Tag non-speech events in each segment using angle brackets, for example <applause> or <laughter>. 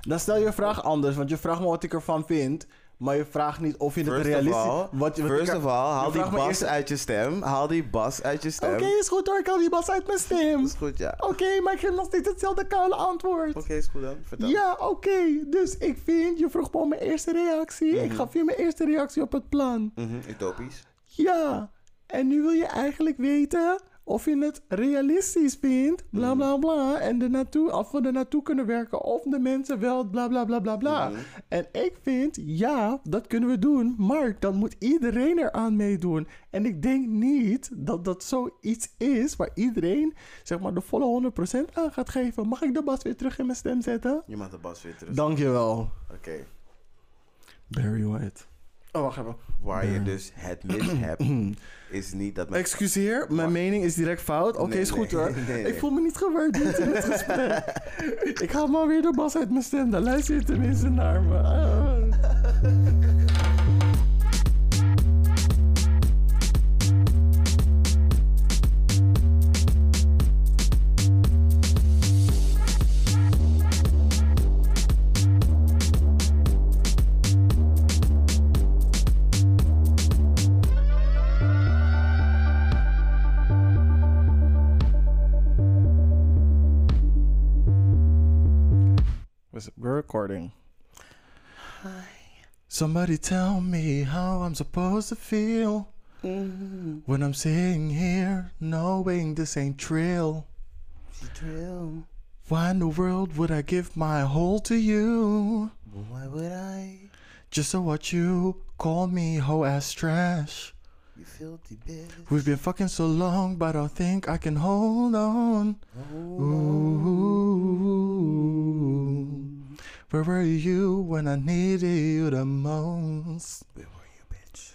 Dan stel je vraag anders, want je vraagt me wat ik ervan vind. Maar je vraagt niet of je het First realistisch... of all, wat je- wat first ik- of all, haal je die vraagt me bas eerst- uit je stem. Haal die bas uit je stem. Oké, is goed hoor, ik haal die bas uit mijn stem. Is goed, ja. Oké, maar ik geef nog steeds hetzelfde koude antwoord. Oké, is goed dan. Vertel. Ja, oké. Dus ik vind, je vroeg me om mijn eerste reactie. Ik gaf je mijn eerste reactie op het plan. Mhm, utopisch. Ja. En nu wil je eigenlijk weten of je het realistisch vindt. Bla bla bla. En er naartoe, of we er naartoe kunnen werken. Of de mensen wel bla bla bla bla bla. En ik vind, ja, dat kunnen we doen. Maar dan moet iedereen eraan meedoen. En ik denk niet dat dat zoiets is waar iedereen zeg maar de volle 100% aan gaat geven. Mag ik de bas weer terug in mijn stem zetten? Je mag de bas weer terug. Dankjewel. Oké. Barry White. Oh, wacht even. Waar je dus het <clears throat> mis hebt, is niet dat mijn Excuseer, mijn mening is direct fout. Oké, Nee, is goed nee, hoor. nee, nee. Ik voel me niet gewaardeerd in het <laughs> gesprek. ik haal maar weer de bas uit mijn stem. Dan luister je tenminste naar me. Ah. <laughs> Was- We're recording. Somebody tell me how I'm supposed to feel when I'm sitting here knowing this ain't trill. drill. Why in the world would I give my whole to you Why would I? just so what you call me hoe ass trash? You filthy bitch. We've been fucking so long, but I think I can hold on. Ooh. Where were you when I needed you the most? Where were you, bitch?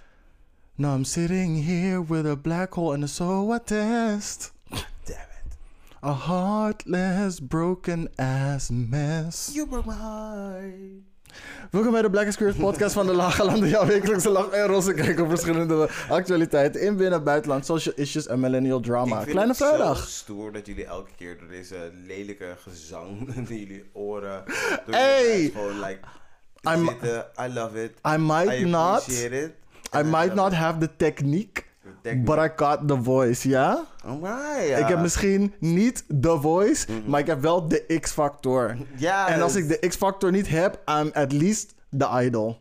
Now I'm sitting here with a black hole and a so I test. Damn it. A heartless, broken ass mess. You broke my heart. Welkom bij de Black Experience podcast van de Lage Landen. Jouw wekelijkse lach en roze kijk op verschillende actualiteiten in binnen en buitenland, social issues en millennial drama. Kleine het vrijdag. Zo stoer dat jullie elke keer door deze lelijke gezang <laughs> in jullie oren. Door jullie Hey! huis Gewoon like. I'm- zitten. I love it. I might I not. appreciate it. I might not have the technique, technique. but I got the voice, ja? Alright. Oh ja. Ik heb misschien niet de voice, maar ik heb wel de X-factor. Yes. En als ik de X-factor niet heb, I'm at least the idol.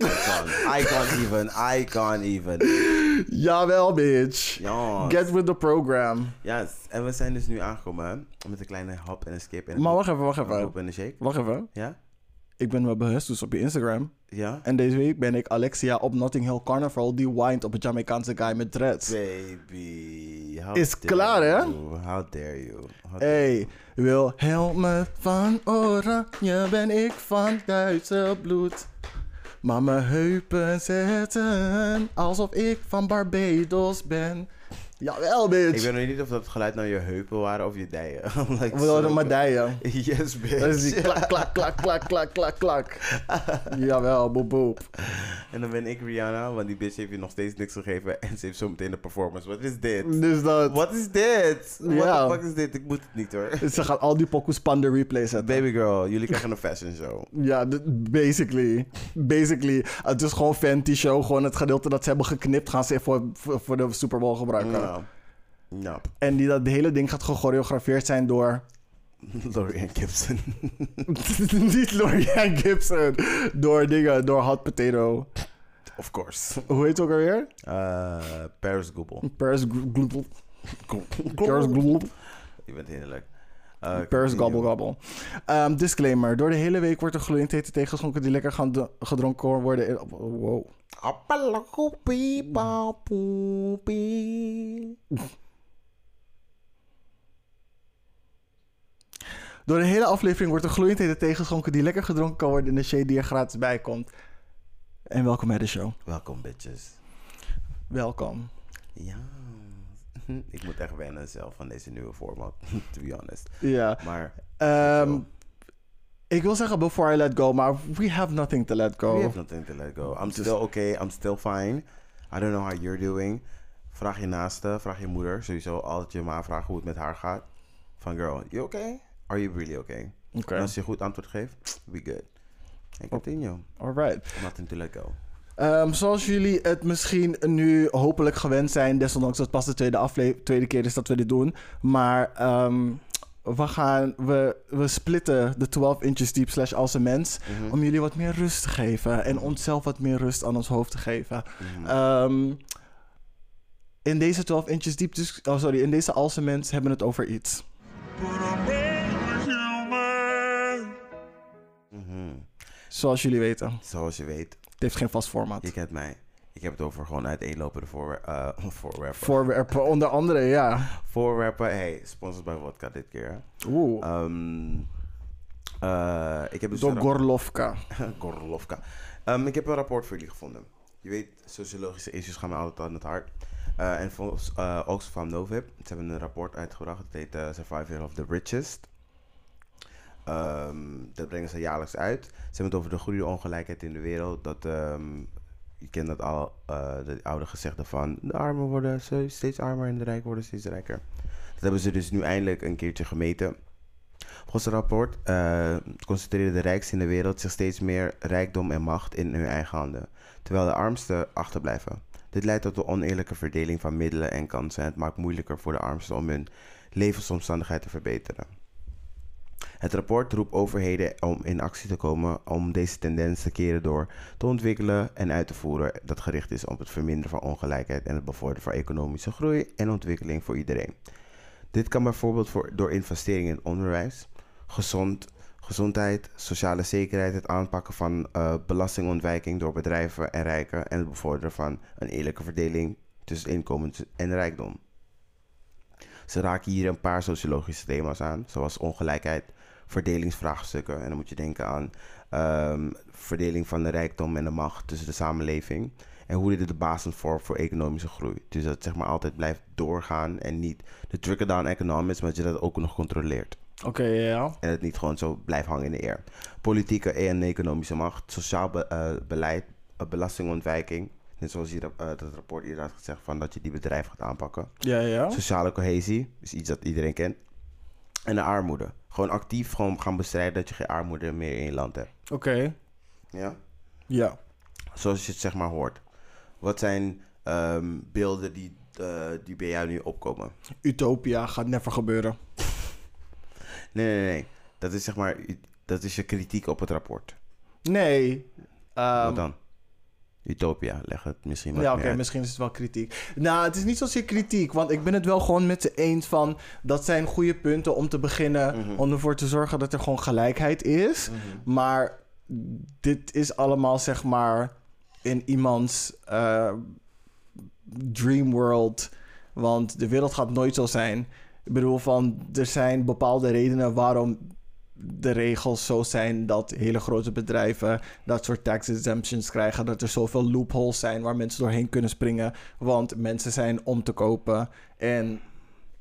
I can't even. I can't even. Jawel, bitch. Ja. Get with the program. Ja, en we zijn dus nu aangekomen hè, met een kleine hap en een skip. En een Maar wacht even, wacht een hop even. en een shake. Wacht even. Ja? Ik ben wel bewust dus op je Instagram. Ja? En deze week ben ik Alexia op Notting Hill Carnival die windt op een Jamaicaanse guy met dreads. Baby. how Is dare klaar, hè? you, How dare you? How dare- Hey, wil helmen van oranje ben ik van Duitse bloed. Maar mijn heupen zetten alsof ik van Barbados ben. Jawel, Ik bitch. weet nog niet of dat geluid nou je heupen waren of je dijen. <laughs> I'm like, We wilden so- maar <laughs> dijen. Yes, bitch. Dat is die klak, klak, klak, klak, klak, klak, klak. Jawel, boep, boep. En dan ben ik Rihanna, want die bitch heeft je nog steeds niks gegeven. En ze heeft zo meteen een performance. Wat is dit? Dus dat... Wat is dit? What Ja. the fuck is dit? Ik moet het niet hoor. Ze gaat al die pokoes panda replay zetten. Baby girl, jullie krijgen een fashion show. Ja, d- basically. Basically. Het is gewoon Fenty Show. Gewoon het gedeelte dat ze hebben geknipt gaan ze voor, voor, voor de Super Bowl gebruiken. Nou. Nou, En die, dat de hele ding gaat gechoreografeerd zijn door... <laughs> <laughs> Laurie en Gibson. niet Lorian Gibson. Door dingen, door Hot Potato. Of course. Hoe heet het ook alweer? Eh, Paris Goebel. Paris Gloebel. <laughs> Paris Gloebel. Je bent heerlijk. Eh, Paris continue. Gobble Gobble. Ehm, disclaimer. Door de hele week wordt er gloeiend hete thee geschonken die lekker gaan do- gedronken worden. in- Wow. Appalakoepie, papoepie. Door de hele aflevering wordt er gloeiendheden tegengeschonken die lekker gedronken kan worden in de shade die er gratis bij komt. En welkom bij de show. Welkom, bitches. Welkom. Ja. <laughs> Ik moet echt wennen zelf van deze nieuwe format, <laughs> to be honest. Ja. Maar Ehm, ik wil zeggen before I let go, maar we have nothing to let we go. have nothing to let go. I'm still okay, I'm still fine. I don't know how you're doing. Vraag je naaste, vraag je moeder. Sowieso altijd je ma vragen hoe het met haar gaat. Van girl, you okay? Are you really okay? En Dus, als je goed antwoord geeft, we good. En continue. Alright. Nothing to let go. Ehm, zoals jullie het misschien nu hopelijk gewend zijn, desondanks dat het pas de tweede, afle- tweede keer is dat we dit doen. Maar ehm, we, gaan, we, we splitten de 12 inches deep slash als een mens. Mhm. Om jullie wat meer rust te geven en onszelf wat meer rust aan ons hoofd te geven. Mhm. Ehm, in deze 12 inches diep, dus, oh sorry, in deze als een mens hebben we het over iets. But I'm only human. Mhm. Zoals jullie weten, Zoals je weet, het heeft geen vast format. je kent mij. Ik heb het over gewoon uiteenlopende voorwer eh, <laughs> voorwerpen. Voorwerpen, onder andere, ja. voorwerpen. Hey, sponsored bij Vodka dit keer. hè. Oeh. Ehm, eh, ik heb dus Door een Gorlovka. rap- <laughs> Gorlovka. Ehm, ik heb een rapport voor jullie gevonden. Je weet, sociologische issues gaan me altijd aan het hart. Eh, en volgens eh, Oxfam Novib, ze hebben een rapport uitgebracht. Het heet eh, Survival of the Richest. Ehm, dat brengen ze jaarlijks uit. Ze hebben het over de groeiende ongelijkheid in de wereld. Dat, ehm, je kent dat al, eh de oude gezegde van... de armen worden ze- steeds armer en de rijken worden steeds rijker. Dat hebben ze dus nu eindelijk een keertje gemeten. Volgens het rapport eh concentreren de rijksten in de wereld zich steeds meer rijkdom en macht in hun eigen handen, terwijl de armsten achterblijven. Dit leidt tot een oneerlijke verdeling van middelen en kansen en het maakt moeilijker voor de armsten om hun levensomstandigheden te verbeteren. Het rapport roept overheden om in actie te komen om deze tendens te keren door te ontwikkelen en uit te voeren dat gericht is op het verminderen van ongelijkheid en het bevorderen van economische groei en ontwikkeling voor iedereen. Dit kan bijvoorbeeld voor, door investeringen in onderwijs, gezond, gezondheid, sociale zekerheid, het aanpakken van eh, belastingontwijking door bedrijven en rijken en het bevorderen van een eerlijke verdeling tussen inkomens en rijkdom. Ze raken hier een paar sociologische thema's aan, zoals ongelijkheid, verdelingsvraagstukken. En dan moet je denken aan ehm, verdeling van de rijkdom en de macht tussen de samenleving. En hoe dit de basis vormt voor economische groei. Dus dat het zeg maar altijd blijft doorgaan en niet de trickle-down economics, maar dat je dat ook nog controleert. Oké, ja. En het niet gewoon zo blijft hangen in de eer. Politieke en economische macht, sociaal be- eh, beleid, eh, belastingontwijking. Net zoals hier eh, dat rapport hier had gezegd van dat je die bedrijven gaat aanpakken. Ja, ja. Sociale cohesie is iets dat iedereen kent. En de armoede. Gewoon actief gewoon gaan bestrijden dat je geen armoede meer in je land hebt. Oké. Ja? Ja. Zoals je het zeg maar hoort. Wat zijn ehm, beelden die, eh, die bij jou nu opkomen? Utopia gaat never gebeuren. Nee, nee, nee. Dat is zeg maar, dat is je kritiek op het rapport. Nee. Ehm, Wat dan? Utopia, leg het misschien wat ja, oké, meer uit. misschien is het wel kritiek. Nou, het is niet zozeer kritiek, want ik ben het wel gewoon met ze eens van... dat zijn goede punten om te beginnen... Mhm. om ervoor te zorgen dat er gewoon gelijkheid is. Maar dit is allemaal, zeg maar, in iemands eh, dream world. Want de wereld gaat nooit zo zijn. Ik bedoel, van, er zijn bepaalde redenen waarom de regels zo zijn dat hele grote bedrijven dat soort tax exemptions krijgen. Dat er zoveel loopholes zijn waar mensen doorheen kunnen springen. Want mensen zijn om te kopen. En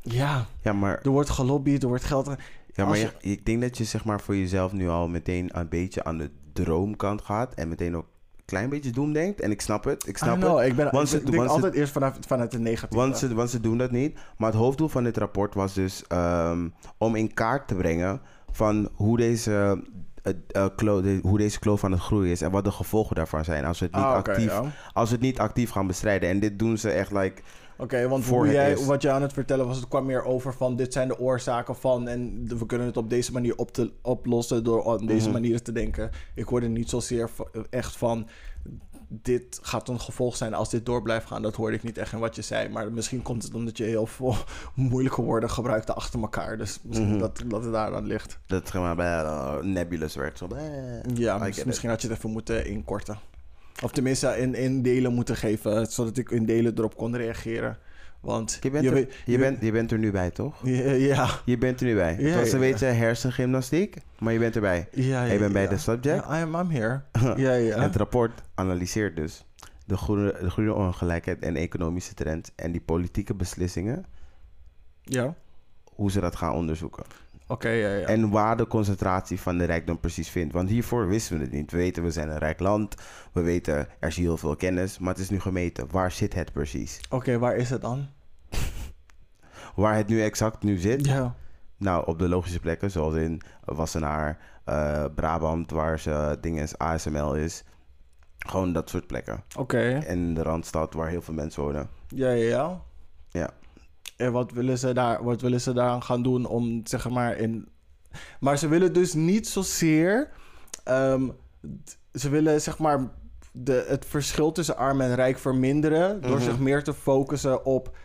ja, Ja, maar, er wordt gelobbyd, er wordt geld. ja, maar als je- ik denk dat je zeg maar voor jezelf nu al meteen een beetje aan de droomkant gaat. En meteen ook een klein beetje doem denkt. En ik snap het, ik I don't snap know, het. ik ben ik Once it- denk once altijd eerst vanuit, vanuit de negatieve. Want ze, want ze doen dat niet. Maar het hoofddoel van dit rapport was dus ehm, om in kaart te brengen van hoe deze, eh, eh, klo- de- hoe deze kloof aan het groeien is en wat de gevolgen daarvan zijn als we het niet, Ah, oké, actief, ja. als we het niet actief gaan bestrijden. En dit doen ze echt like, Oké, want Voor hoe het jij, eerst. wat je aan het vertellen was, het kwam meer over van dit zijn de oorzaken van en d- we kunnen het op deze manier op te, oplossen door op deze manier te denken. Ik hoorde niet zozeer v- echt van dit gaat een gevolg zijn als dit door blijft gaan. Dat hoorde ik niet echt in wat je zei, maar misschien komt het omdat je heel veel <laughs> moeilijke woorden gebruikte achter elkaar. Dus misschien dat, dat het daaraan ligt. dat zeg maar, eh, nebulous werd. Zo, eh, Ja, I mis- get it. misschien had je het even moeten inkorten. Of tenminste in, in delen moeten geven, zodat ik in delen erop kon reageren. Want Je bent, je er, weet- je, bent, je bent er nu bij, toch? Ja, ja. Je bent er nu bij. Ja, Het was ja, een ja. beetje hersengymnastiek, maar je bent erbij. ja, Ik ben bij ja. de subject. Ja, I am, I'm here. <laughs> ja, ja. Het rapport analyseert dus de groene, de groene ongelijkheid en economische trends en die politieke beslissingen, Ja, oké, hoe ze dat gaan onderzoeken. ja, ja. En waar de concentratie van de rijkdom precies vindt. Want hiervoor wisten we het niet. We weten, we zijn een rijk land. We weten, er is heel veel kennis. Maar het is nu gemeten. Waar zit het precies? Oké, waar is het dan? Waar het nu exact nu zit, Ja. Nou, op de logische plekken, zoals in Wassenaar, eh, Brabant, waar ze dingen is, ASML is. Gewoon dat soort plekken. Oké. En de Randstad, waar heel veel mensen wonen. Ja, ja, ja. Ja. En wat willen ze daar, wat willen ze daaraan gaan doen om, zeg maar, in... Maar ze willen dus niet zozeer... ehm, d- ze willen, zeg maar, de, het verschil tussen arm en rijk verminderen... door zich meer te focussen op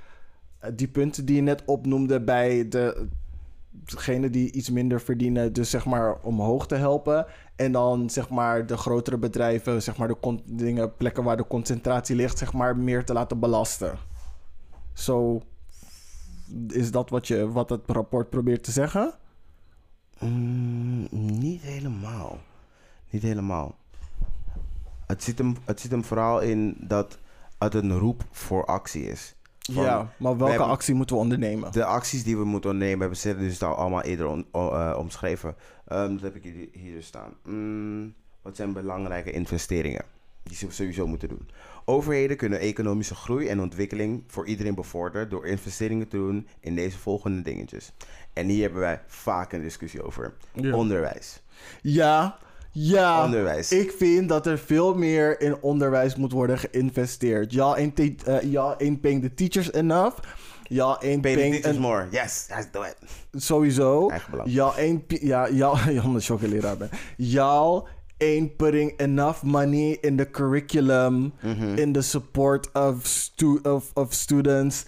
eh, die punten die je net opnoemde... bij de, degene die iets minder verdienen, dus zeg maar omhoog te helpen... En dan zeg maar de grotere bedrijven, zeg maar de con- dingen, plekken waar de concentratie ligt, zeg maar meer te laten belasten. Zo is dat wat, je, wat het rapport probeert te zeggen? Mm, niet helemaal. Niet helemaal. Het zit, hem, het zit hem vooral in dat het een roep voor actie is. Van, ja, maar wij welke hebben- actie moeten we ondernemen? De acties die we moeten ondernemen hebben ze dus al allemaal eerder on- o- eh, omschreven. Ehm, dat heb ik hier, hier dus staan. Mm, wat zijn belangrijke investeringen die ze sowieso moeten doen? Overheden kunnen economische groei en ontwikkeling voor iedereen bevorderen door investeringen te doen in deze volgende dingetjes. En hier hebben wij vaak een discussie over. Ja. Onderwijs. Ja, ja. Onderwijs. Ik vind dat er veel meer in onderwijs moet worden geïnvesteerd. Y'all ain't, te- eh, y'all ain't paying the teachers enough. Y'all ain't Pay the paying... teachers more. Yes, let's do it. sowieso. Eigen belang. Y'all ain't... pi- Ja, <laughs> y'all... Ja, omdat je ook een leraar bent. Y'all ain't putting enough money in the curriculum. Mhm. In the support of, stu of, of students.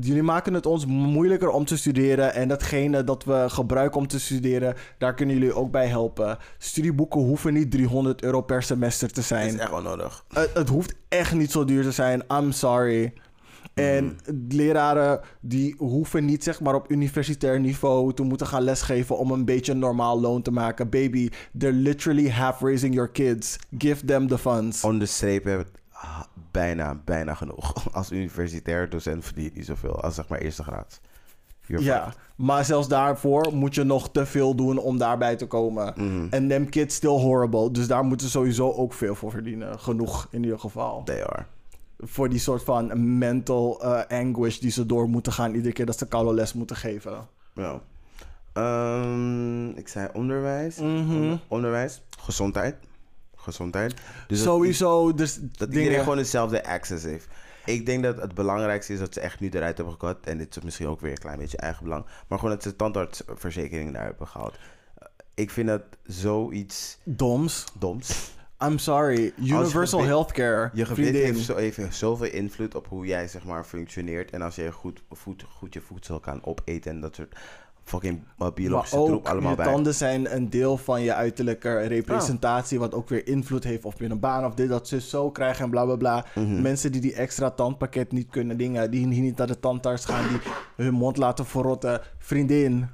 Jullie maken het ons moeilijker om te studeren. En datgene dat we gebruiken om te studeren, daar kunnen jullie ook bij helpen. Studieboeken hoeven niet 300 euro per semester te zijn. Dat is echt wel nodig. Het, het hoeft echt niet zo duur te zijn. I'm sorry. En leraren die hoeven niet zeg maar op universitair niveau te moeten gaan lesgeven om een beetje een normaal loon te maken. Baby, they're literally half raising your kids. Give them the funds. Oh, onderstrepen hebben we het, ah, bijna, bijna genoeg. <laughs> Als universitair docent verdien je niet zoveel als zeg maar eerste graad. You're Ja, maar zelfs daarvoor moet je nog te veel doen om daarbij te komen. En them kids still horrible. Dus daar moeten ze sowieso ook veel voor verdienen. Genoeg in ieder geval. They are. Voor die soort van mental eh, anguish die ze door moeten gaan iedere keer dat ze koude les moeten geven. Nou. Ehm, ik zei onderwijs. Mhm. Onder- onderwijs. Gezondheid. Gezondheid. Dus dat- Sowieso, dus dat dingen... iedereen gewoon dezelfde access heeft. Ik denk dat het belangrijkste is dat ze echt nu eruit hebben gekat. En dit is misschien ook weer een klein beetje eigen belang. Maar gewoon dat ze tandartsverzekering daar hebben gehaald. Ik vind dat zoiets Doms. doms. I'm sorry. Universal gebit- healthcare. Je gebit vriendin. heeft, zo, heeft zoveel invloed op hoe jij zeg maar functioneert. En als je goed, voed, goed je voedsel kan opeten en dat soort fucking eh, Maar biologische troep ook, allemaal je bij. Ah. tanden zijn een deel van je uiterlijke representatie... wat ook weer invloed heeft op je een baan of dit, dat, ze zo krijgen en bla, bla, bla. Mhm. Mensen die die extra tandpakket niet kunnen dingen... die hier niet naar de tandarts gaan, die hun mond laten verrotten. Vriendin,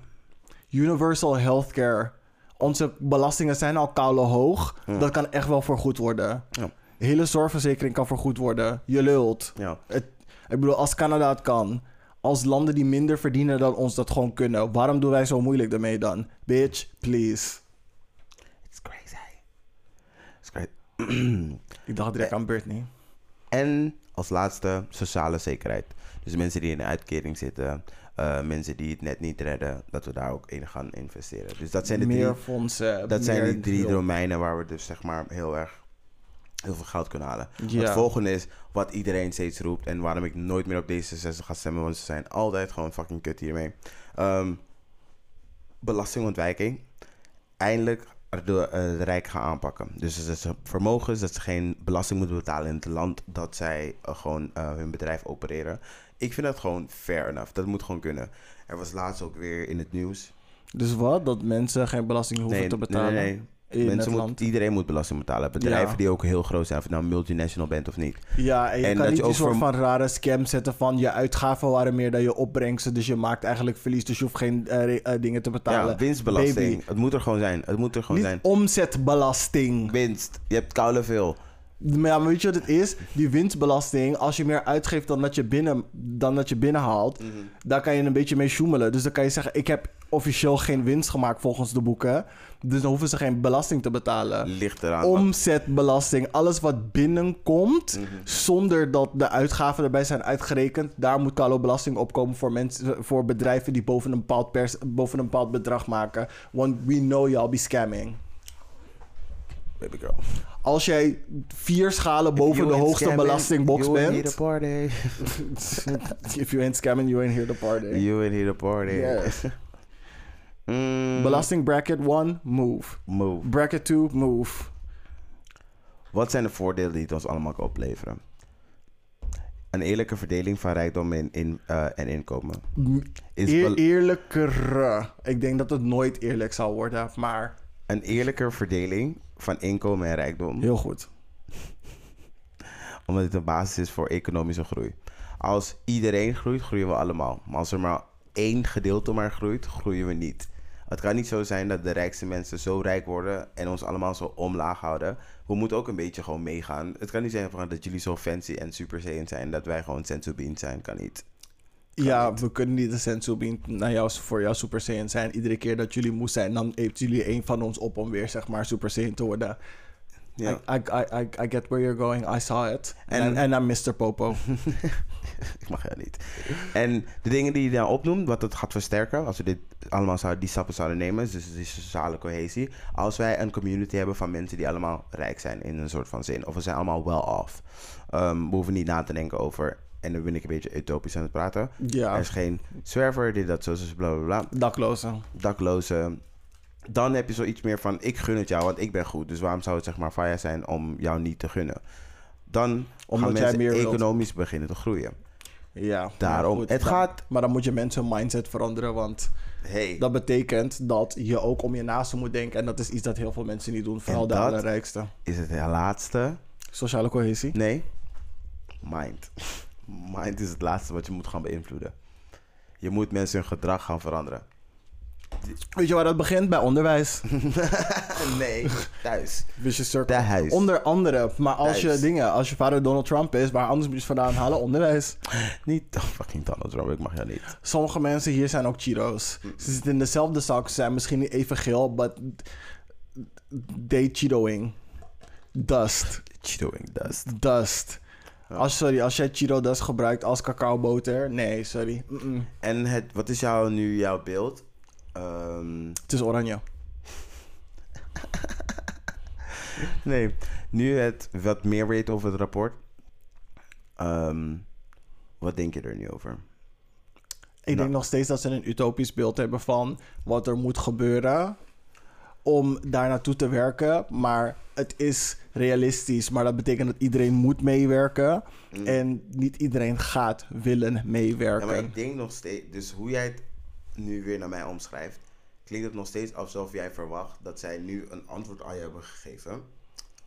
universal healthcare. Onze belastingen zijn al koude hoog. Dat kan echt wel vergoed worden. Ja. Hele zorgverzekering kan vergoed worden. Je lult. Ja. Het, ik bedoel, als Canada het kan, als landen die minder verdienen dan ons dat gewoon kunnen, waarom doen wij zo moeilijk ermee dan? Bitch, please. It's crazy. It's crazy. Ik dacht direct aan Britney. En als laatste sociale zekerheid. Dus mensen die in een uitkering zitten, eh, mensen die het net niet redden, dat we daar ook in gaan investeren. Dus dat zijn de meer drie, fondsen. dat zijn eh, meer die drie hulp. domeinen waar we dus zeg maar heel erg heel veel geld kunnen halen. Ja. Het volgende is wat iedereen steeds roept en waarom ik nooit meer op D66 ga stemmen, want ze zijn altijd gewoon fucking kut hiermee. Ehm, belastingontwijking. Eindelijk de, eh de rijk gaan aanpakken. Dus dat ze vermogens, dat ze geen belasting moeten betalen in het land dat zij eh, gewoon eh, hun bedrijf opereren. Ik vind dat gewoon fair enough. Dat moet gewoon kunnen. Er was laatst ook weer in het nieuws Dus wat? Dat mensen geen belasting hoeven te betalen? Nee, nee. in Mensen het moet- land. Iedereen moet belasting betalen. Bedrijven Ja. die ook heel groot zijn, of het nou een multinational bent of niet. Ja, en je En kan dat niet je die ook soort voor- van rare scam zetten van je uitgaven waren meer dan je opbrengsten, dus je maakt eigenlijk verlies, dus je hoeft geen eh, re- eh, dingen te betalen. Ja, winstbelasting. Baby, Het moet er gewoon zijn. Het moet er gewoon niet zijn. omzetbelasting. Winst. Je hebt koude veel. Maar ja, maar weet je wat het is? Die winstbelasting, als je meer uitgeeft dan dat je, binnen, dan dat je binnenhaalt, daar kan je een beetje mee sjoemelen. Dus dan kan je zeggen, ik heb officieel geen winst gemaakt volgens de boeken. Dus dan hoeven ze geen belasting te betalen. Ligt eraan. wat- Omzetbelasting, alles wat binnenkomt, zonder dat de uitgaven erbij zijn uitgerekend, daar moet Carlo belasting op komen voor, mensen, voor bedrijven die boven een, bepaald pers, boven een bepaald bedrag maken. Want we know y'all be scamming. Oh, Baby girl. Als jij vier schalen boven de You ain't hoogste scamming, belastingbox you ain't here bent. to party. <laughs> If you ain't scamming, you ain't here to party. You ain't here to party. Yes. <laughs> Mm, Belasting bracket 1, move. move. Bracket 2, move. Wat zijn de voordelen die het ons allemaal kan opleveren? Een eerlijke verdeling van rijkdom en, in, eh, en inkomen. Is Mm, Eer, bel- eerlijkere. Ik denk dat het nooit eerlijk zal worden, maar een eerlijke verdeling van inkomen en rijkdom. heel goed. Omdat dit een basis is voor economische groei. Als iedereen groeit, groeien we allemaal. Maar als er maar één gedeelte maar groeit, groeien we niet. Het kan niet zo zijn dat de rijkste mensen zo rijk worden en ons allemaal zo omlaag houden. We moeten ook een beetje gewoon meegaan. Het kan niet zijn van dat jullie zo fancy en super saiyan zijn dat wij gewoon sensu bean zijn. Kan niet. ja, we kunnen niet de sensobeam naar jou, voor jou Super Saiyan zijn. Iedere keer dat jullie moe zijn, dan heeft jullie een van ons op om weer zeg maar Super Saiyan te worden. Ja. I, I, I, I, I get where you're going. I saw it. En- En I'm Mr. Popo. <laughs> Ik mag jou niet. En de dingen die je daar opnoemt, wat het gaat versterken, als we dit allemaal zouden, die stappen zouden nemen, dus die sociale cohesie. Als wij een community hebben van mensen die allemaal rijk zijn in een soort van zin, of we zijn allemaal well off. Ehm, we hoeven niet na te denken over, en dan ben ik een beetje utopisch aan het praten. Er ja, is geen zwerver, dit, dat, zo, zo, bla bla bla. daklozen. Daklozen. Dan heb je zoiets meer van, ik gun het jou, want ik ben goed. Dus waarom zou het zeg maar fire zijn om jou niet te gunnen? Dan Omdat gaan jij mensen meer wilt. economisch beginnen te groeien. Ja, Daarom. maar goed, Het dan- gaat- Maar dan moet je mensen hun mindset veranderen, want Hey, dat betekent dat je ook om je naasten moet denken. En dat is iets dat heel veel mensen niet doen, vooral de dat- allerrijkste. is het de laatste? Sociale cohesie. Nee. Mind. <laughs> Mind is het laatste wat je moet gaan beïnvloeden. Je moet mensen hun gedrag gaan veranderen. <laughs> Weet je waar dat begint? Bij onderwijs. nee, thuis. Vicious circle. Thuis. Onder andere. Maar als Thuis. je dingen, als je vader Donald Trump is, waar anders moet je het vandaan halen? Onderwijs. Niet oh, fucking Donald Trump, ik mag jou niet. Sommige mensen hier zijn ook Cheetos. Ze zitten in dezelfde zak, ze zijn misschien niet even geel, but they Cheetoing. Dust. Chewing dust. Dust. Als, sorry, als jij Cheeto dust gebruikt als cacaoboter, nee, sorry. Mm-mm. En het, wat is jou nu jouw beeld? Ehm, Het is oranje. nee, nu het wat meer weet over het rapport. Ehm, wat denk je er nu over? Ik Nou. denk nog steeds dat ze een utopisch beeld hebben van wat er moet gebeuren om daar naartoe te werken. Maar het is realistisch. Maar dat betekent dat iedereen moet meewerken. En niet iedereen gaat willen Mm. Ja, meewerken. maar ik denk nog steeds, dus hoe jij het nu weer naar mij omschrijft, klinkt het nog steeds alsof jij verwacht dat zij nu een antwoord aan je hebben gegeven.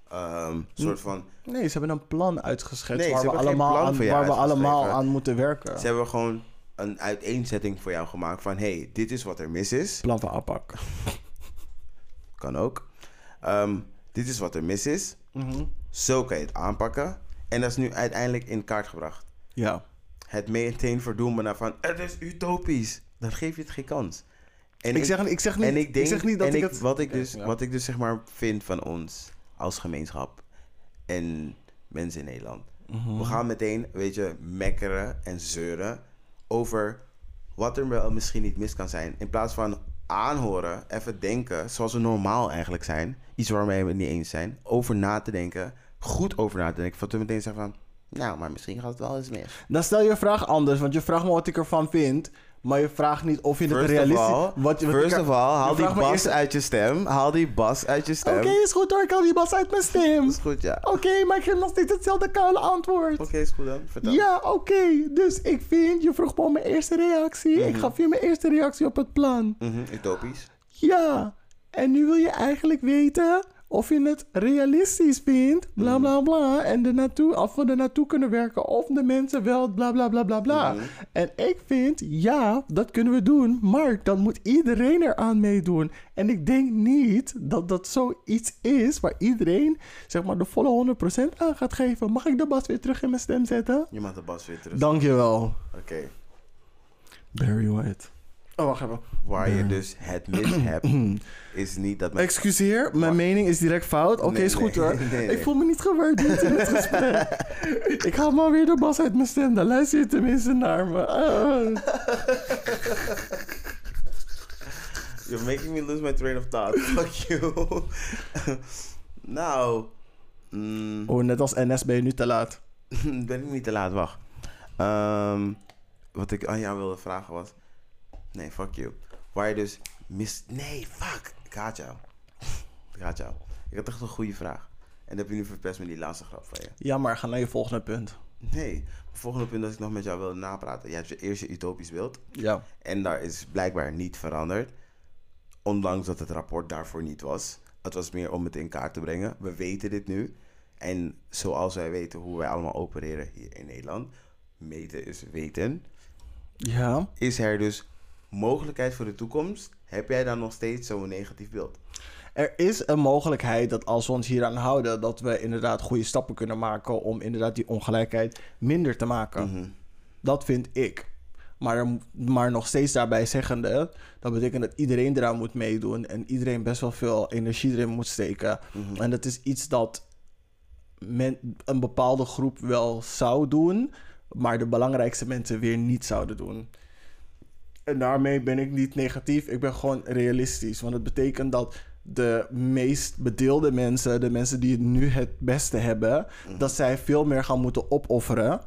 Ehm, Een soort van, Nee, ze hebben een plan uitgeschetst Nee, waar, ze we hebben geen plan allemaal, aan, voor je waar we uitgeschreven. allemaal aan moeten werken. ze hebben gewoon een uiteenzetting voor jou gemaakt van, hé, hey, dit is wat er mis is. Plan van aanpak. Kan ook. Ehm, dit is wat er mis is. Zo kan je het aanpakken. En dat is nu uiteindelijk in kaart gebracht. Ja. Het meteen verdoemen naar van, het is utopisch. Dan geef je het geen kans. En Ik zeg- ik zeg niet- en ik, ik denk, zeg niet dat en ik het- Wat ik, Oké, dus, ja. wat ik dus zeg maar vind van ons als gemeenschap en mensen in Nederland. Mhm. We gaan meteen, weet je, mekkeren en zeuren over wat er wel misschien niet mis kan zijn. In plaats van aanhoren, even denken, zoals we normaal eigenlijk zijn. Iets waarmee we het niet eens zijn. Over na te denken, goed over na te denken. Voordat we meteen zeggen van, nou, maar misschien gaat het wel eens mis. Dan stel je vraag anders, want je vraagt me wat ik ervan vind. Maar je vraagt niet of je het First realistisch... of all, wat, wat first ik- of all, je haal die vraagt me bas eerst- uit je stem. Haal die bas uit je stem. Oké, is goed hoor, ik haal die bas uit mijn stem. Is goed, ja. Oké, maar ik geef nog steeds hetzelfde koude antwoord. Oké, is goed dan. Vertel. Ja, oké. Dus ik vind, je vroeg me om mijn eerste reactie. Ik gaf je mijn eerste reactie op het plan. Mhm, utopisch. Ja. En nu wil je eigenlijk weten of je het realistisch vindt. Bla bla bla. En er naartoe, of we er naartoe kunnen werken. Of de mensen wel bla bla bla bla bla. En ik vind, ja, dat kunnen we doen. Maar dan moet iedereen eraan meedoen. En ik denk niet dat dat zoiets is waar iedereen zeg maar de volle 100% aan gaat geven. Mag ik de bas weer terug in mijn stem zetten? Je mag de bas weer terug. Dankjewel. Oké. Barry White. Oh, wacht even. Waar je dus het <clears throat> mis hebt, is niet dat men... Excuseer, mijn Wacht. mening is direct fout. Oké, Nee, is goed nee, hoor. nee, nee. Ik voel me niet gewaardeerd in het gesprek. <laughs> ik haal maar weer de bas uit mijn stem. Dan luister je tenminste naar me. Ah. You're making me lose my train of thought. <laughs> Fuck you. <laughs> nou, mm, Oh, net als NS ben je nu te laat. <laughs> ben ik niet te laat, wacht. Ehm, wat ik aan jou wilde vragen was... Nee, fuck you. Waar je dus mis... Nee, fuck. Ik haat jou. Ik haat jou. Ik had echt een goede vraag. En dat heb je nu verpest met die laatste grap van je. Jammer, ga naar je volgende punt. Nee, het volgende punt dat ik nog met jou wilde napraten. Je hebt je eerste utopisch beeld. Ja. En daar is blijkbaar niet veranderd. Ondanks dat het rapport daarvoor niet was. Het was meer om het in kaart te brengen. We weten dit nu. En zoals wij weten hoe wij allemaal opereren hier in Nederland. Meten is weten. Ja. Is er dus mogelijkheid voor de toekomst? Heb jij dan nog steeds zo'n negatief beeld? Er is een mogelijkheid dat als we ons hieraan houden, dat we inderdaad goede stappen kunnen maken om inderdaad die ongelijkheid minder te maken. Dat vind ik. Maar, er moet- maar nog steeds daarbij zeggende, dat betekent dat iedereen eraan moet meedoen en iedereen best wel veel energie erin moet steken. En dat is iets dat men, een bepaalde groep wel zou doen, maar de belangrijkste mensen weer niet zouden doen. En daarmee ben ik niet negatief, ik ben gewoon realistisch. Want het betekent dat de meest bedeelde mensen, de mensen die het nu het beste hebben, Mhm. dat zij veel meer gaan moeten opofferen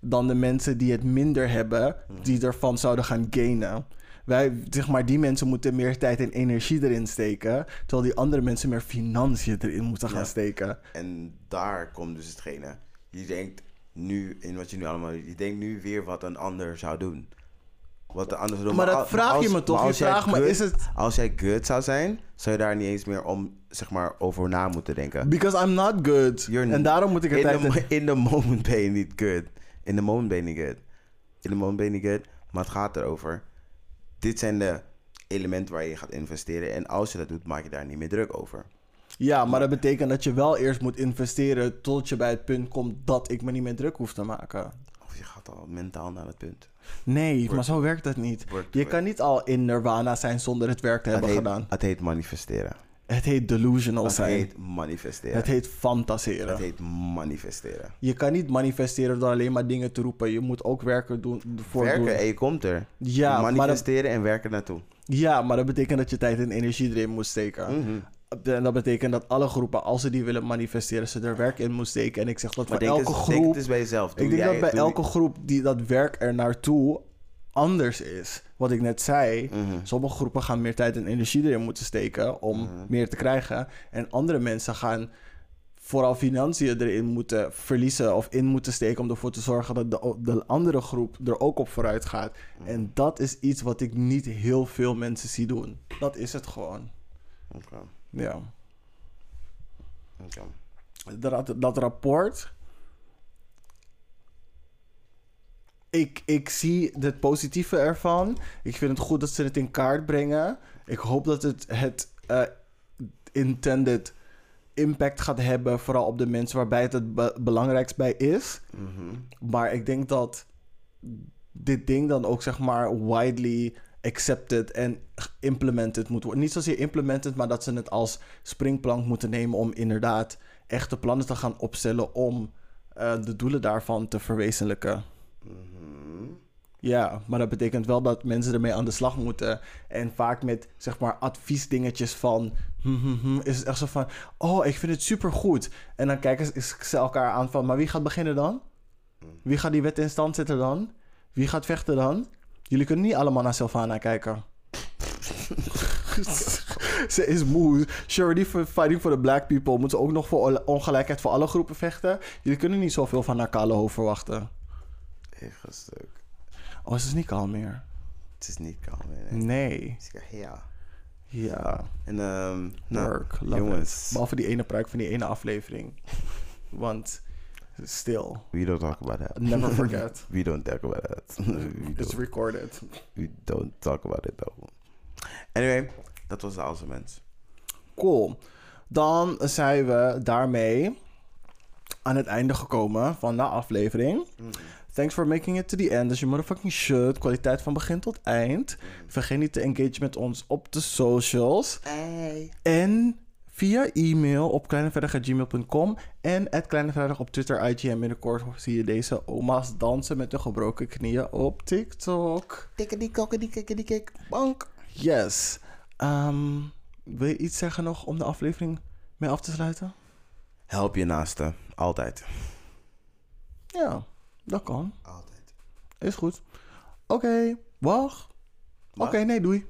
dan de mensen die het minder hebben, Mhm. die ervan zouden gaan gainen. Wij, zeg maar, die mensen moeten meer tijd en energie erin steken, terwijl die andere mensen meer financiën erin moeten gaan Ja. steken. En daar komt dus hetgene. Je denkt nu in wat je nu allemaal. Je denkt nu weer wat een ander zou doen. Wat de ander zou doen. Maar dat al- vraag je me toch? maar Je als jij vraagt me, good- is het- Als jij good zou zijn, zou je daar niet eens meer om, zeg maar, over na moeten denken. Because I'm not good. You're- en daarom moet ik er in tijd the, in... mo- in the moment ben je niet good. In the moment ben je niet good. In the moment ben je niet good. Maar het gaat erover. Dit zijn de elementen waar je gaat investeren. En als je dat doet, maak je daar niet meer druk over. Ja, maar dat betekent dat je wel eerst moet investeren tot je bij het punt komt dat ik me niet meer druk hoef te maken. Of je gaat al mentaal naar het punt. Nee, maar zo werkt dat niet. Work to Je it. kan niet al in nirvana zijn zonder het werk te Het hebben heet- gedaan. Het heet manifesteren. Het heet delusional Het zijn. heet manifesteren. Het heet fantaseren. Het heet manifesteren. Je kan niet manifesteren door alleen maar dingen te roepen. Je moet ook werken doen, voor Werken doen. en je komt er. Ja, maar dat- manifesteren en werken naartoe. Ja, maar dat betekent dat je tijd en energie erin moet steken. Mhm. En dat betekent dat alle groepen, als ze die willen manifesteren, ze er werk in moeten steken. En ik zeg dat Maar voor denk, elke eens, groep. denk het eens bij jezelf. Doe ik denk jij dat het, bij doe- elke groep die dat werk er naartoe anders is. Wat ik net zei, Mhm. sommige groepen gaan meer tijd en energie erin moeten steken om Mhm. meer te krijgen. En andere mensen gaan vooral financiën erin moeten verliezen of in moeten steken om ervoor te zorgen dat de, de andere groep er ook op vooruit gaat. Mhm. En dat is iets wat ik niet heel veel mensen zie doen. Dat is het gewoon. Oké, Ja. oké. dat, dat rapport. Ik, ik zie het positieve ervan. Ik vind het goed dat ze het in kaart brengen. Ik hoop dat het het eh, intended impact gaat hebben, vooral op de mensen waarbij het het be- belangrijkst bij is. Maar ik denk dat dit ding dan ook zeg maar widely accepted en implemented moet worden. Niet zozeer implemented, maar dat ze het als springplank moeten nemen om inderdaad echte plannen te gaan opstellen om eh, de doelen daarvan te verwezenlijken. Ja, maar dat betekent wel dat mensen ermee aan de slag moeten. En vaak met, zeg maar, adviesdingetjes van... hmm, hmm, hmm, is het echt zo van... Oh, ik vind het supergoed. En dan kijken ze, ze elkaar aan van... Maar wie gaat beginnen dan? Wie gaat die wet in stand zetten dan? Wie gaat vechten dan? Jullie kunnen niet allemaal naar Sylvana kijken. <laughs> ze is moe. She already f- fighting for the black people. Moet ze ook nog voor on- ongelijkheid voor alle groepen vechten? Jullie kunnen niet zoveel van haar kale hoofd verwachten. Echt een stuk. Oh, ze is niet kaal meer. Het is niet kalm. Nee. nee. Nee. Het is- Ja. Ja. En ehm nou, Work. Love jongens. it. Behalve die ene pruik van die ene aflevering. Want, still, We don't talk about that. never <laughs> forget. We don't talk about that. <laughs> we, It's don't, recorded. we don't talk about it though. Anyway, dat was de Alse Mens. Cool. Dan zijn we daarmee aan het einde gekomen van de aflevering. Thanks for making it to the end. Dus je motherfucking shit. Kwaliteit van begin tot eind. Vergeet niet te engage met ons op de socials. En via e-mail op kleineverdag.gmail.com en at kleineverdag op Twitter, IG. En binnenkort zie je deze oma's dansen met hun gebroken knieën op TikTok. Tikkadikkokkadikkokkadikik. Bank. Yes. Ehm, wil je iets zeggen nog om de aflevering mee af te sluiten? Help je naaste. Altijd. Ja, dat kan. Altijd. Is goed. Oké, wacht. Oké, nee, doei.